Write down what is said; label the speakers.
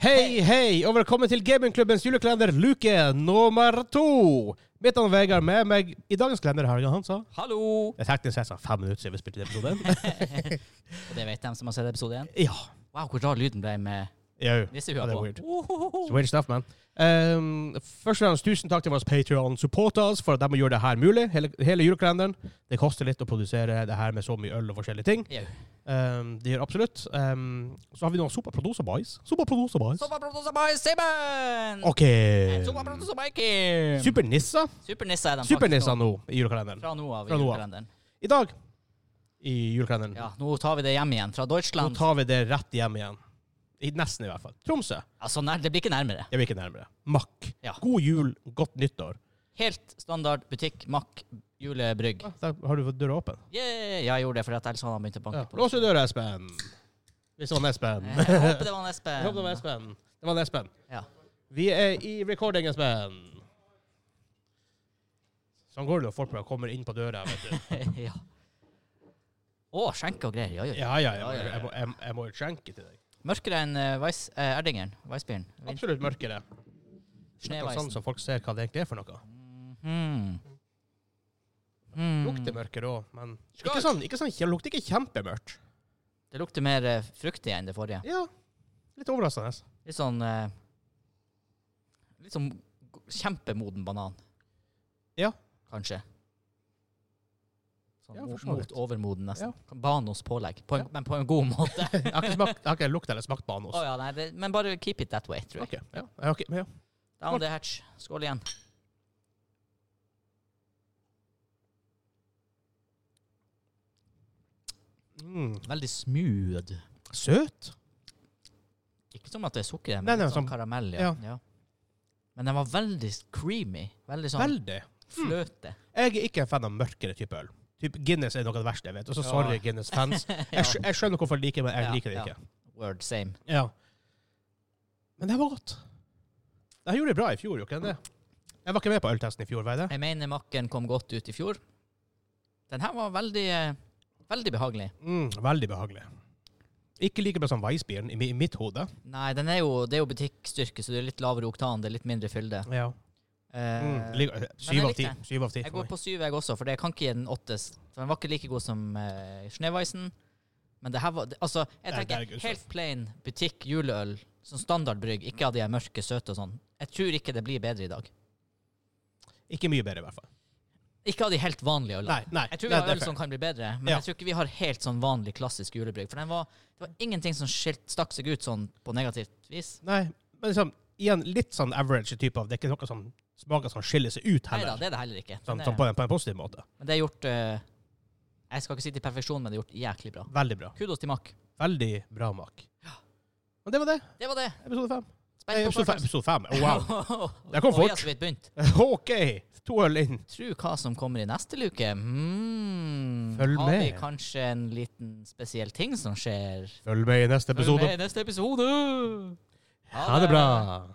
Speaker 1: Hei, hei, og velkommen til Gamingklubbens julekalender luke nummer to. Mitt navn er Vegard, med meg i dagens kalender har jeg Hansa.
Speaker 2: Hallo!
Speaker 1: Det er teknisk sett sånn fem minutter siden vi spilte den episoden.
Speaker 2: Og det vet de som har sett episode 1.
Speaker 1: ja.
Speaker 2: Wow, hvor rar lyden ble med
Speaker 1: Jau.
Speaker 2: nissehua
Speaker 1: Ja, det er
Speaker 2: på.
Speaker 1: weird.
Speaker 2: Ohohoho.
Speaker 1: Oh. Weird stuff, man. Ehm, først og fremst tusen takk til våre Patreon-supporters for at de gjør det her mulig, hele, hele julekalenderen. Det koster litt å produsere det her med så mye øl og forskjellige ting.
Speaker 2: Jau.
Speaker 1: Ehm, det gjør absolutt. Ehm, så har vi noen Sopaprodosa Boys. Sopaprodosa Boys.
Speaker 2: Superproducer by Simon!
Speaker 1: OK.
Speaker 2: Superproducer by Kim!
Speaker 1: Supernissa.
Speaker 2: Supernissa er de
Speaker 1: Supernissa
Speaker 2: nå.
Speaker 1: nå i julekalenderen.
Speaker 2: Fra nå av i
Speaker 1: Fra nå av.
Speaker 2: julekalenderen.
Speaker 1: I dag i julekalenderen.
Speaker 2: Ja, nå tar vi det hjem igjen. Fra
Speaker 1: Nå
Speaker 2: Deutschland.
Speaker 1: tar vi det rett hjem igjen. I, nesten, i hvert fall. Tromsø.
Speaker 2: Altså, nær, det blir ikke nærmere.
Speaker 1: Jeg vil ikke nærmere. Mack.
Speaker 2: Ja.
Speaker 1: God jul, godt nyttår.
Speaker 2: Helt standard butikk, makk, julebrygg.
Speaker 1: Ah, Der har du fått døra åpen.
Speaker 2: Yeah! Ja, jeg gjorde det, for at ellers hadde han begynt å banke
Speaker 1: Ja.
Speaker 2: på. Eh,
Speaker 1: Lås i døra, Espen. Hvis det var en Espen.
Speaker 2: Jeg håper det var en
Speaker 1: Jeg håper det var
Speaker 2: Espen.
Speaker 1: Espen. Det var en Espen.
Speaker 2: Ja.
Speaker 1: Vi er i recording, Espen. Sånn går det når folk bare kommer inn på døra. vet du.
Speaker 2: ja. Å, skjenke og greier. Ja, ja, ja.
Speaker 1: Ja, ja, jeg må- jeg må- jeg- jeg må jo skjenke til deg.
Speaker 2: Mørkere enn uh, Weiss, eh, Erdingeren. Weissbieren.
Speaker 1: Absolutt mørkere. Det er sånn
Speaker 2: Sneveisen.
Speaker 1: som folk ser hva det egentlig er for noe.
Speaker 2: Mm. Mm.
Speaker 1: Lukter mørkere òg, men
Speaker 2: Skål!
Speaker 1: ikke sånn, ikke sånn, det lukter ikke kjempemørkt.
Speaker 2: Det lukter mer eh, fruktig enn det forrige.
Speaker 1: Ja. Litt overraskende.
Speaker 2: Litt sånn eh, Litt sånn g- kjempemoden banan.
Speaker 1: Ja.
Speaker 2: Kanskje. Sånn
Speaker 1: Ja,
Speaker 2: mo-
Speaker 1: for så vidt.
Speaker 2: mot overmoden, nesten. Banos pålegg, på en,
Speaker 1: Ja.
Speaker 2: men på en god måte.
Speaker 1: Jeg har ikke, smakt, jeg har ikke lukta eller smakt banos.
Speaker 2: Å ja, nei, det, men bare keep it that way, tror jeg.
Speaker 1: Ok, ja. Jeg har ikke- men ja.
Speaker 2: Down the hatch. Skål igjen.
Speaker 1: Mm.
Speaker 2: Veldig smooth.
Speaker 1: Søt.
Speaker 2: Ikke som at det er sukker, men
Speaker 1: Nei, nei,
Speaker 2: litt sånn
Speaker 1: sånn-
Speaker 2: karamell. Ja. Ja. Men den var veldig creamy. Veldig sånn
Speaker 1: Veldig.
Speaker 2: fløte.
Speaker 1: Jeg er ikke en fan av mørkere type øl. Typ Guinness er noe av det verste jeg vet. Og så
Speaker 2: Ja.
Speaker 1: sorry, Guinness-fans. Jeg, skj- jeg skjønner hvorfor de liker det, men jeg
Speaker 2: Ja,
Speaker 1: liker det
Speaker 2: ja.
Speaker 1: ikke.
Speaker 2: Word same.
Speaker 1: Ja. Men det var godt. Det her gjorde det bra i fjor, gjorde ikke det? Jeg var ikke med på øltesten i fjor, var jeg det?
Speaker 2: Jeg mener makken kom godt ut i fjor. Den her var veldig, eh, veldig behagelig.
Speaker 1: Mm, veldig behagelig. Ikke like bra som Weissbieren i, mi- i mitt hode.
Speaker 2: Nei, den er jo, det er jo butikkstyrke, så det er litt lavere oktan, det er litt mindre fylde.
Speaker 1: Ja.
Speaker 2: Eh,
Speaker 1: Mm, lik-
Speaker 2: jeg
Speaker 1: syv av
Speaker 2: likte
Speaker 1: ti.
Speaker 2: den.
Speaker 1: Syv av ti
Speaker 2: jeg
Speaker 1: for
Speaker 2: går
Speaker 1: meg.
Speaker 2: på syv, jeg også, for jeg kan ikke gi den åttes. For den var ikke like god som eh, Schneeweisen. Men det her var det- Altså, jeg
Speaker 1: Nei, det er
Speaker 2: tenker
Speaker 1: gullstoff.
Speaker 2: helt plain butikk juleøl, sånn standardbrygg, ikke av de her mørke, søte og sånn. Jeg tror ikke det blir bedre i dag.
Speaker 1: Ikke mye bedre, i hvert fall.
Speaker 2: Ikke av de helt vanlige ølene.
Speaker 1: Nei, nei.
Speaker 2: Jeg tror vi
Speaker 1: nei,
Speaker 2: har sånn-
Speaker 1: det er
Speaker 2: øl
Speaker 1: fair.
Speaker 2: som kan bli bedre, men
Speaker 1: Ja.
Speaker 2: jeg tror ikke vi har helt sånn vanlig klassisk julebrygg. For den var, det var ingenting som skilt, stakk seg ut sånn på negativt vis.
Speaker 1: Nei, men liksom, igjen litt sånn average type av Det er ikke noe som smaker som skiller seg ut
Speaker 2: Nei da,
Speaker 1: heller.
Speaker 2: det er det heller ikke.
Speaker 1: sånn,
Speaker 2: Men
Speaker 1: sånn
Speaker 2: det,
Speaker 1: på, en, på en positiv måte.
Speaker 2: men det er gjort eh, Jeg skal ikke si til perfeksjon, men det er gjort jæklig bra.
Speaker 1: Veldig bra.
Speaker 2: Kudos til Mack.
Speaker 1: Veldig bra mak. Men det var det.
Speaker 2: Det var det.
Speaker 1: Episode fem. Eh,
Speaker 2: Spent på
Speaker 1: episode fem.
Speaker 2: fortsatt.
Speaker 1: Episode fem. Wow. Det kom
Speaker 2: Oi,
Speaker 1: fort.
Speaker 2: altså, vi har begynt.
Speaker 1: OK. To øl inn.
Speaker 2: Tro hva som kommer i neste luke. Mm.
Speaker 1: Følg
Speaker 2: har vi
Speaker 1: med.
Speaker 2: kanskje en liten spesiell ting som skjer?
Speaker 1: Følg med i neste
Speaker 2: Følg
Speaker 1: episode.
Speaker 2: med i neste episode!
Speaker 1: Ha det bra.